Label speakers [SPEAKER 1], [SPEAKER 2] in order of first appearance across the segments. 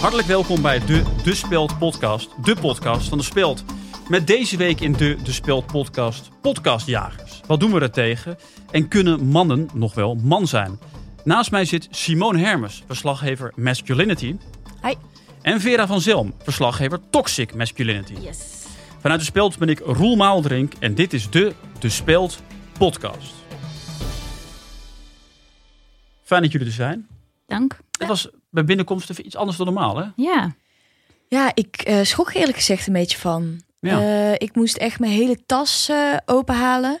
[SPEAKER 1] Hartelijk welkom bij de De Speld podcast. De podcast van De Speld. Met deze week in de De Speld podcast podcastjagers. Wat doen we er tegen? En kunnen mannen nog wel man zijn? Naast mij zit Simone Hermes, verslaggever Masculinity.
[SPEAKER 2] Hi.
[SPEAKER 1] En Vera van Zelm, verslaggever Toxic Masculinity.
[SPEAKER 2] Yes.
[SPEAKER 1] Vanuit De Speld ben ik Roel Maaldrink en dit is de De Speld podcast. Fijn dat jullie er zijn.
[SPEAKER 2] Dank.
[SPEAKER 1] Het was bij binnenkomst even iets anders dan normaal, hè?
[SPEAKER 2] Ja.
[SPEAKER 3] Ja, ik eh, schrok er eerlijk gezegd een beetje van.
[SPEAKER 1] Ja.
[SPEAKER 3] Eh, ik moest echt mijn hele tas eh, openhalen.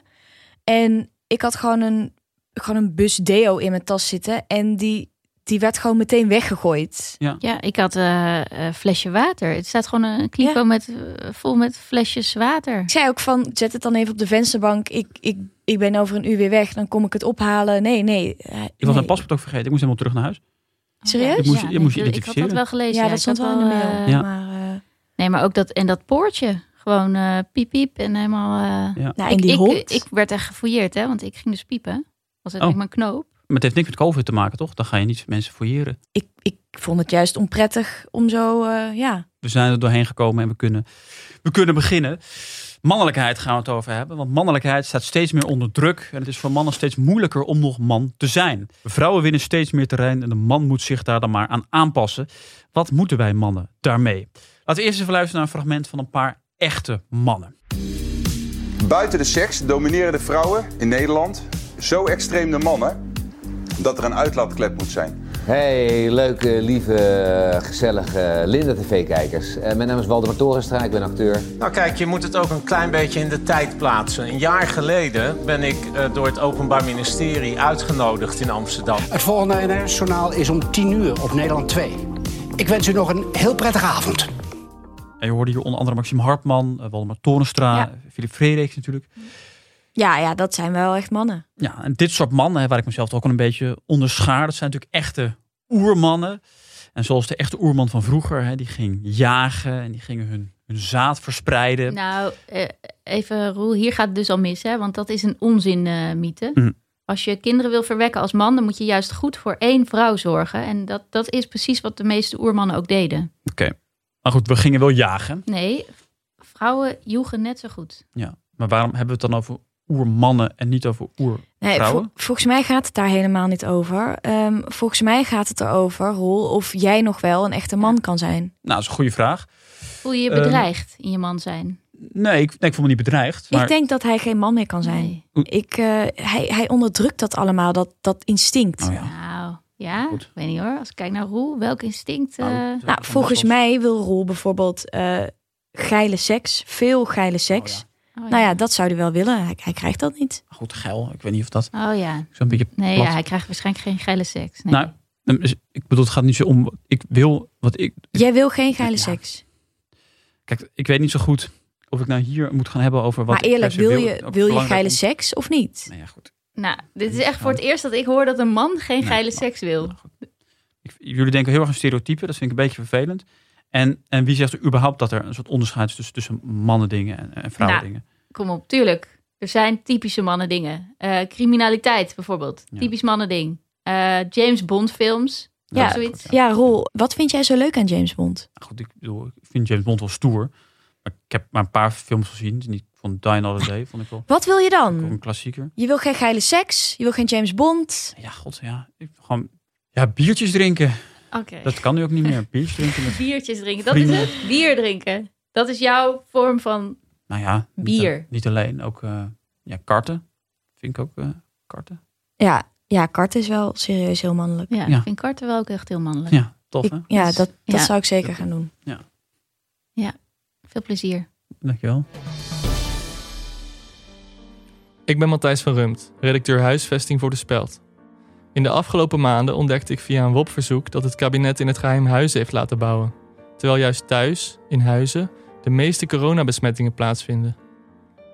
[SPEAKER 3] En ik had gewoon een, gewoon een bus deo in mijn tas zitten. En die, die werd gewoon meteen weggegooid.
[SPEAKER 2] Ja, ik had eh, een flesje water. Het staat gewoon een kliko
[SPEAKER 3] Ja.
[SPEAKER 2] met, eh, vol met flesjes water.
[SPEAKER 3] Ik zei ook van, zet het dan even op de vensterbank. Ik, ik, ik ben over een uur weer weg, dan kom ik het ophalen. Nee, nee. eh,
[SPEAKER 1] Ik was
[SPEAKER 3] nee.
[SPEAKER 1] mijn paspoort ook vergeten. Ik moest helemaal terug naar huis.
[SPEAKER 3] Serieus?
[SPEAKER 1] Je moest- je
[SPEAKER 2] nee,
[SPEAKER 1] moest je
[SPEAKER 2] ik- Ik had dat
[SPEAKER 1] identificeren.
[SPEAKER 2] wel
[SPEAKER 3] Ja,
[SPEAKER 2] gelezen.
[SPEAKER 3] dat
[SPEAKER 2] ik
[SPEAKER 3] stond
[SPEAKER 2] had
[SPEAKER 3] wel in de mail.
[SPEAKER 2] eh,
[SPEAKER 1] Ja.
[SPEAKER 3] Maar, eh,
[SPEAKER 2] Nee, maar ook dat en dat poortje. Gewoon eh, piep piep en helemaal... eh,
[SPEAKER 1] Ja.
[SPEAKER 3] nou, en
[SPEAKER 2] ik,
[SPEAKER 3] die
[SPEAKER 2] ik,
[SPEAKER 3] hond.
[SPEAKER 2] ik werd echt gefouilleerd, hè. Want ik ging dus piepen. Was het
[SPEAKER 1] Oh.
[SPEAKER 2] ook mijn knoop.
[SPEAKER 1] Maar het heeft niks met COVID te maken, toch? Dan ga je niet mensen fouilleren.
[SPEAKER 3] ik, ik vond het juist onprettig om zo, eh, ja.
[SPEAKER 1] We zijn er doorheen gekomen en we kunnen, we kunnen beginnen. Mannelijkheid gaan we het over hebben. Want mannelijkheid staat steeds meer onder druk. En het is voor mannen steeds moeilijker om nog man te zijn. Vrouwen winnen steeds meer terrein en de man moet zich daar dan maar aan aanpassen. Wat moeten wij mannen daarmee? Laten we eerst even luisteren naar een fragment van een paar echte mannen.
[SPEAKER 4] Buiten de seks domineren de vrouwen in Nederland zo extreem de mannen dat er een uitlaatklep moet zijn.
[SPEAKER 5] Hey, leuke, lieve, gezellige Linda TV-kijkers. Eh, mijn naam is Waldemar Torenstra, ik ben acteur.
[SPEAKER 6] Nou kijk, je moet het ook een klein beetje in de tijd plaatsen. Een jaar geleden ben ik eh, door het Openbaar Ministerie uitgenodigd in Amsterdam.
[SPEAKER 7] Het volgende NRS-journaal is om 10 uur op Nederland 2. Ik wens u nog een heel prettige avond.
[SPEAKER 1] En je hoorde hier onder andere Maxime Hartman, eh, Waldemar Torenstra,
[SPEAKER 3] Ja.
[SPEAKER 1] eh, Philip Frederiks natuurlijk.
[SPEAKER 3] ja, ja, dat zijn wel echt mannen.
[SPEAKER 1] Ja, en dit soort mannen, hè, waar ik mezelf ook al een beetje onderschaar, dat zijn natuurlijk echte oermannen. En zoals de echte oerman van vroeger, hè, die ging jagen en die gingen hun, hun zaad verspreiden.
[SPEAKER 2] Nou, eh, even Roel, hier gaat het dus al mis, hè? Want dat is een onzinmythe.
[SPEAKER 1] Mhm.
[SPEAKER 2] Als je kinderen wil verwekken als man, dan moet je juist goed voor één vrouw zorgen. En dat, dat is precies wat de meeste oermannen ook deden.
[SPEAKER 1] Oké, maar goed, we gingen wel jagen.
[SPEAKER 2] Nee, vrouwen joegen net zo goed.
[SPEAKER 1] Ja. Maar waarom hebben we het dan over oermannen en niet over oer? Nou,
[SPEAKER 3] Nee,
[SPEAKER 1] Vrouwen?
[SPEAKER 3] vol- volgens mij gaat het daar helemaal niet over. Ehm, volgens mij gaat het erover, Roel, of jij nog wel een echte man kan zijn.
[SPEAKER 1] Nou, dat is een goede vraag.
[SPEAKER 2] Voel je je
[SPEAKER 1] Ehm,
[SPEAKER 2] bedreigd in je man zijn?
[SPEAKER 1] Nee, ik, nee, ik voel me niet bedreigd. Maar
[SPEAKER 3] Ik denk dat hij geen man meer kan zijn.
[SPEAKER 2] Nee.
[SPEAKER 1] Oeh.
[SPEAKER 3] Ik, eh, hij, hij onderdrukt dat allemaal, dat, dat instinct.
[SPEAKER 1] Oh ja.
[SPEAKER 2] Nou, ja,
[SPEAKER 1] Goed.
[SPEAKER 2] ik weet niet hoor. Als ik kijk naar Roel, welk instinct... eh,
[SPEAKER 1] Nou,
[SPEAKER 3] Nou, volgens mij wil Roel bijvoorbeeld eh, geile seks, veel geile seks.
[SPEAKER 1] Oh
[SPEAKER 2] oh,
[SPEAKER 3] Nou ja, dat zou hij wel willen. Hij, hij krijgt dat niet.
[SPEAKER 1] Goed, geil. Ik weet niet of dat
[SPEAKER 2] Oh ja,
[SPEAKER 1] zo'n beetje
[SPEAKER 2] nee,
[SPEAKER 1] plat
[SPEAKER 2] ja, hij krijgt waarschijnlijk geen geile seks. Nee.
[SPEAKER 1] Nou, Um, is- Ik bedoel, het gaat niet zo om. Ik wil wat ik.
[SPEAKER 3] Jij wil geen geile
[SPEAKER 1] Ja.
[SPEAKER 3] seks.
[SPEAKER 1] Kijk, ik weet niet zo goed of ik nou hier moet gaan hebben over wat. ik
[SPEAKER 3] Maar
[SPEAKER 1] per
[SPEAKER 3] eerlijk,
[SPEAKER 1] se
[SPEAKER 3] wil
[SPEAKER 1] wil
[SPEAKER 3] je,
[SPEAKER 1] Ook
[SPEAKER 3] wil je
[SPEAKER 1] belangrijk
[SPEAKER 3] geile
[SPEAKER 1] om-
[SPEAKER 3] seks of niet?
[SPEAKER 1] Nee, ja, goed.
[SPEAKER 2] nou, dit is echt voor het eerst dat ik hoor dat een man geen
[SPEAKER 1] Nee,
[SPEAKER 2] geile
[SPEAKER 1] maar-
[SPEAKER 2] seks wil.
[SPEAKER 1] Nou, goed. Ik- jullie denken heel erg aan stereotypen. Dat vind ik een beetje vervelend. En, en wie zegt er überhaupt dat er een soort onderscheid is tussen, tussen mannen dingen en, en vrouwen dingen?
[SPEAKER 2] Kom op, tuurlijk. Er zijn typische mannen dingen. Eh, criminaliteit bijvoorbeeld.
[SPEAKER 1] Ja.
[SPEAKER 2] Typisch mannen ding. Eh, James Bond films.
[SPEAKER 1] Ja,
[SPEAKER 2] Ja, zoiets.
[SPEAKER 1] goed,
[SPEAKER 3] Ja, Roel, wat vind jij zo leuk aan James Bond?
[SPEAKER 1] Nou, goed, ik bedoel, ik vind James Bond wel stoer. Maar ik heb maar een paar films gezien. Dus niet van Die Another Day vond ik wel
[SPEAKER 3] Wat wil je dan?
[SPEAKER 1] ook een klassieker.
[SPEAKER 3] Je wil geen geile seks, je wil geen James Bond.
[SPEAKER 1] Ja, god, ja. Ik, gewoon, ja, biertjes drinken.
[SPEAKER 2] Oké.
[SPEAKER 1] Dat kan nu ook niet meer. Biertjes drinken. met-
[SPEAKER 2] Biertjes drinken. Dat is het. Bier drinken. Dat is jouw vorm van...
[SPEAKER 1] Nou ja, niet
[SPEAKER 2] Bier.
[SPEAKER 1] al- Niet, alleen, ook eh, ja, karten. Vind ik ook eh, karten.
[SPEAKER 3] Ja, ja, kart is wel serieus heel mannelijk.
[SPEAKER 2] Ja,
[SPEAKER 1] Ja.
[SPEAKER 2] ik vind karten wel ook echt heel mannelijk.
[SPEAKER 1] Ja, tof
[SPEAKER 3] Ik-
[SPEAKER 1] hè?
[SPEAKER 3] ja, dat, dat
[SPEAKER 2] Ja.
[SPEAKER 3] zou ik zeker gaan doen.
[SPEAKER 2] Veel plezier.
[SPEAKER 1] Dankjewel.
[SPEAKER 8] Ik ben Matthijs van Rumpt, redacteur huisvesting voor De Speld. In de afgelopen maanden ontdekte ik via een WOP-verzoek dat het kabinet in het geheim huizen heeft laten bouwen. Terwijl juist thuis, in huizen, de meeste coronabesmettingen plaatsvinden.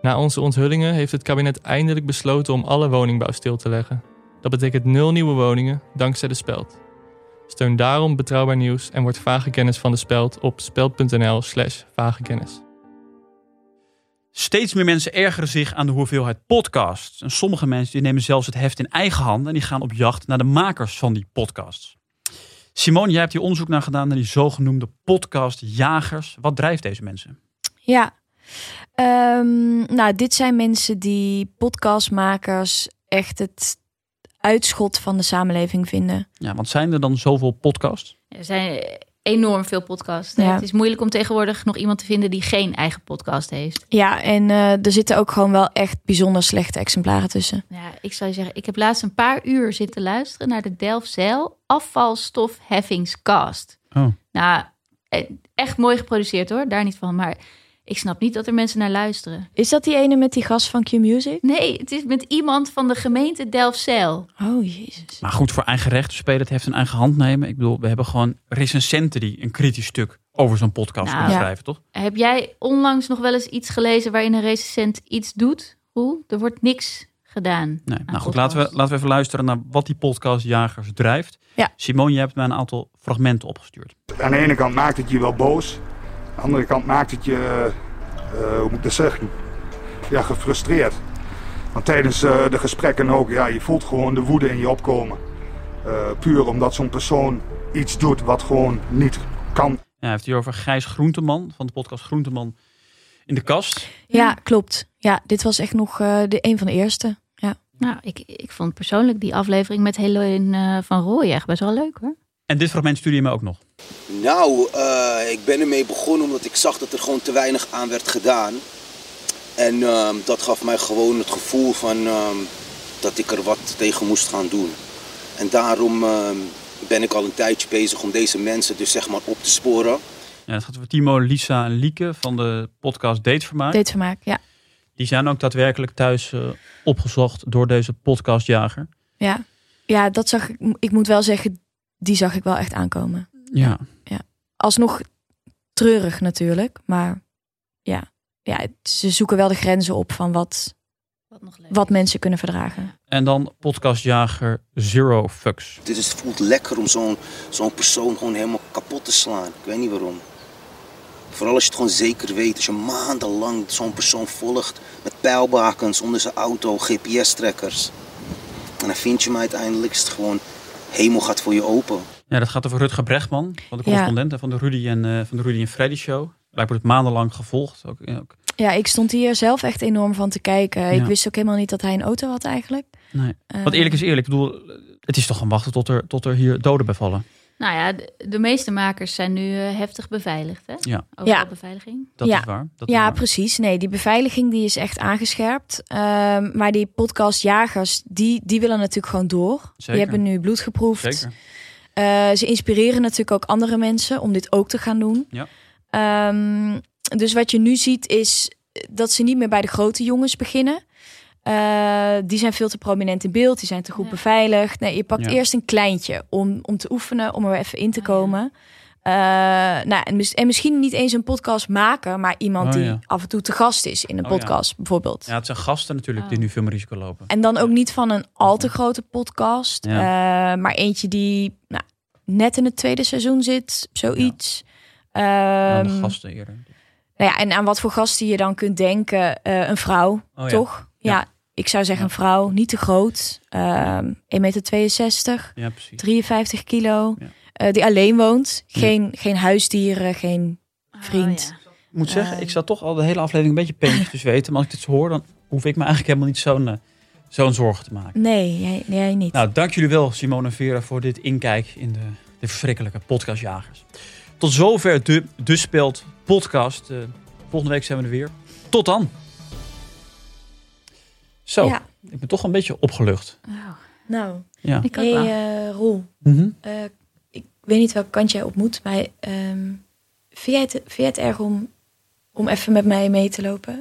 [SPEAKER 8] Na onze onthullingen heeft het kabinet eindelijk besloten om alle woningbouw stil te leggen. Dat betekent nul nieuwe woningen, dankzij De Speld. Steun daarom betrouwbaar nieuws en word vage kennis van De Speld op speld.nl slash vage kennis.
[SPEAKER 1] Steeds meer mensen ergeren zich aan de hoeveelheid podcasts. En sommige mensen die nemen zelfs het heft in eigen handen en die gaan op jacht naar de makers van die podcasts. Simone, jij hebt hier onderzoek naar gedaan naar die zogenoemde podcastjagers. Wat drijft deze mensen?
[SPEAKER 3] Ja. Ehm, nou, dit zijn mensen die podcastmakers echt het uitschot van de samenleving vinden.
[SPEAKER 1] Ja, want zijn er dan zoveel podcasts?
[SPEAKER 2] Er zijn enorm veel podcasts. hè.
[SPEAKER 3] Ja.
[SPEAKER 2] Het is moeilijk om tegenwoordig nog iemand te vinden die geen eigen podcast heeft.
[SPEAKER 3] Ja, en eh, er zitten ook gewoon wel echt bijzonder slechte exemplaren tussen.
[SPEAKER 2] Ja, ik zou je zeggen, ik heb laatst een paar uur zitten luisteren naar de Delfzijl afvalstofheffingscast.
[SPEAKER 1] Oh.
[SPEAKER 2] Nou, e- echt mooi geproduceerd hoor, daar niet van. Maar ik snap niet dat er mensen naar luisteren.
[SPEAKER 3] Is dat die ene met die gast van Q-Music?
[SPEAKER 2] Nee, het is met iemand van de gemeente Delfzijl.
[SPEAKER 3] Oh, jezus.
[SPEAKER 1] Maar goed, voor eigen recht te spelen, het heeft een eigen hand nemen. Ik bedoel, we hebben gewoon recensenten die een kritisch stuk over zo'n podcast
[SPEAKER 2] Nou.
[SPEAKER 1] kunnen
[SPEAKER 3] Ja.
[SPEAKER 1] schrijven, toch?
[SPEAKER 2] Heb jij onlangs nog wel eens iets gelezen waarin een recensent iets doet? Hoe? Er wordt niks gedaan.
[SPEAKER 1] Nee.
[SPEAKER 2] aan
[SPEAKER 1] Nou goed,
[SPEAKER 2] podcast.
[SPEAKER 1] laten we, laten we even luisteren naar wat die podcastjagers drijft.
[SPEAKER 3] Ja.
[SPEAKER 1] Simone, jij hebt mij een aantal fragmenten opgestuurd.
[SPEAKER 9] Aan de ene kant maakt het je wel boos. Aan de andere kant maakt het je, eh, eh, hoe moet ik dat zeggen? Ja, gefrustreerd. Want tijdens eh, de gesprekken ook, ja, je voelt gewoon de woede in je opkomen. Eh, puur omdat zo'n persoon iets doet wat gewoon niet kan.
[SPEAKER 1] Ja, hij heeft hier over Gijs Groenteman van de podcast Groenteman in de kast.
[SPEAKER 3] Ja, klopt. Ja, dit was echt nog eh, de, een van de eerste. Ja.
[SPEAKER 2] Nou, ik, ik vond persoonlijk die aflevering met Helene eh, van Rooij echt best wel leuk hoor.
[SPEAKER 1] En dit fragment stuurde je me ook nog.
[SPEAKER 10] Nou, eh, ik ben ermee begonnen omdat ik zag dat er gewoon te weinig aan werd gedaan. En ehm, dat gaf mij gewoon het gevoel van ehm, dat ik er wat tegen moest gaan doen. En daarom ehm, ben ik al een tijdje bezig om deze mensen dus zeg maar op te sporen.
[SPEAKER 1] Ja, het gaat over Timo, Lisa en Lieke van de podcast Datevermaak.
[SPEAKER 3] Datevermaak, ja.
[SPEAKER 1] Die zijn ook daadwerkelijk thuis eh, opgezocht door deze podcastjager.
[SPEAKER 3] Ja. Ja, dat zag ik. Ik moet wel zeggen, die zag ik wel echt aankomen.
[SPEAKER 1] Ja.
[SPEAKER 3] Alsnog treurig natuurlijk, maar ja. Ja, het- ze zoeken wel de grenzen op van wat,
[SPEAKER 2] Wat nog leuk.
[SPEAKER 3] wat mensen kunnen verdragen.
[SPEAKER 1] En dan podcastjager Zero Fucks.
[SPEAKER 10] Dit is, voelt lekker om zo'n zo'n persoon gewoon helemaal kapot te slaan. Ik weet niet waarom. Vooral als je het gewoon zeker weet. Als je maandenlang zo'n persoon volgt met pijlbakens onder zijn auto, GPS-trekkers. En dan vind je hem uiteindelijk is het gewoon hemel gaat voor je open.
[SPEAKER 1] Ja, dat gaat over Rutger Brechtman, van de
[SPEAKER 3] Ja.
[SPEAKER 1] correspondent en van de Rudy en, eh, van de Rudy en Freddy show. Blijkbaar wordt het maandenlang gevolgd. Ook, ja, ook.
[SPEAKER 3] Ja, ik stond hier zelf echt enorm van te kijken. Ik
[SPEAKER 1] Ja.
[SPEAKER 3] wist ook helemaal niet dat hij een auto had eigenlijk.
[SPEAKER 1] Nee.
[SPEAKER 3] Eh,
[SPEAKER 1] Want eerlijk is eerlijk, ik bedoel, het is toch gaan wachten tot er, tot er hier doden bij vallen.
[SPEAKER 2] Nou ja, de, de meeste makers zijn nu eh, heftig beveiligd hè?
[SPEAKER 1] Ja.
[SPEAKER 2] Overal
[SPEAKER 3] Ja.
[SPEAKER 2] beveiliging.
[SPEAKER 1] Dat
[SPEAKER 3] Ja.
[SPEAKER 1] is waar. Dat is
[SPEAKER 3] Ja,
[SPEAKER 1] waar.
[SPEAKER 3] precies. Nee, die beveiliging die is echt aangescherpt. Ehm, maar die podcastjagers, die, die willen natuurlijk gewoon door.
[SPEAKER 1] Zeker.
[SPEAKER 3] Die hebben nu bloed geproefd.
[SPEAKER 1] Zeker.
[SPEAKER 3] Eh, ze inspireren natuurlijk ook andere mensen om dit ook te gaan doen.
[SPEAKER 1] Ja.
[SPEAKER 3] Ehm, dus wat je nu ziet is dat ze niet meer bij de grote jongens beginnen. Eh, die zijn veel te prominent in beeld, die zijn te goed
[SPEAKER 2] Ja.
[SPEAKER 3] beveiligd. Nee, je pakt
[SPEAKER 1] Ja.
[SPEAKER 3] eerst een kleintje om, om te oefenen, om er even in te
[SPEAKER 2] Oh, ja.
[SPEAKER 3] komen. Eh, nou, en, mis- en misschien niet eens een podcast maken, maar iemand
[SPEAKER 1] Oh,
[SPEAKER 3] die
[SPEAKER 1] ja.
[SPEAKER 3] af en toe te gast is in een
[SPEAKER 1] Oh, ja.
[SPEAKER 3] podcast bijvoorbeeld.
[SPEAKER 1] Ja, het zijn gasten natuurlijk
[SPEAKER 3] Oh.
[SPEAKER 1] die nu veel meer risico lopen.
[SPEAKER 3] En dan ook niet van een al te grote podcast. eh, maar eentje die nou, net in het tweede seizoen zit. Zoiets.
[SPEAKER 1] En
[SPEAKER 3] Ehm,
[SPEAKER 1] dan de gasten eerder.
[SPEAKER 3] nou ja, en aan wat voor gasten je dan kunt denken. Eh, een vrouw,
[SPEAKER 1] Oh ja.
[SPEAKER 3] toch? Ja.
[SPEAKER 1] Ja.
[SPEAKER 3] ik zou zeggen een vrouw. Niet te groot. Ehm 1,62 meter,
[SPEAKER 1] Ja, precies.
[SPEAKER 3] 53 kilo.
[SPEAKER 1] Ja.
[SPEAKER 3] eh, die alleen woont. Geen, geen huisdieren, geen... Vriend.
[SPEAKER 2] Oh, ja.
[SPEAKER 1] Ik moet zeggen,
[SPEAKER 3] Ehm.
[SPEAKER 1] ik zat toch al de hele aflevering een beetje peentjes te zweten. Maar als ik dit zo hoor, dan hoef ik me eigenlijk helemaal niet zo'n eh, zo'n zorgen te maken.
[SPEAKER 3] Nee, jij, jij niet.
[SPEAKER 1] Nou, dank jullie wel, Simone en Vera, voor dit inkijk in de, de verschrikkelijke podcastjagers. Tot zover de, de Speld podcast. Eh, volgende week zijn we er weer. Tot dan. Zo,
[SPEAKER 3] Ja,
[SPEAKER 1] ik ben toch een beetje opgelucht.
[SPEAKER 2] Wauw.
[SPEAKER 3] nou.
[SPEAKER 1] Ja.
[SPEAKER 2] Ik ook
[SPEAKER 3] Hey,
[SPEAKER 2] wel.
[SPEAKER 3] eh, Roel.
[SPEAKER 1] Mhm.
[SPEAKER 3] Eh, ik weet niet welke kant jij op moet, maar ehm, vind, jij het, vind jij het erg om, om even met mij mee te lopen?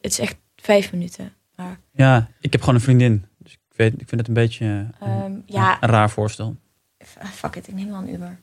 [SPEAKER 3] Het is echt vijf minuten. Maar,
[SPEAKER 1] Ja, ik heb gewoon een vriendin. Dus ik, weet, ik vind het een beetje eh, een,
[SPEAKER 3] ehm, ja,
[SPEAKER 1] een raar voorstel.
[SPEAKER 3] f- fuck it, ik neem wel een Uber.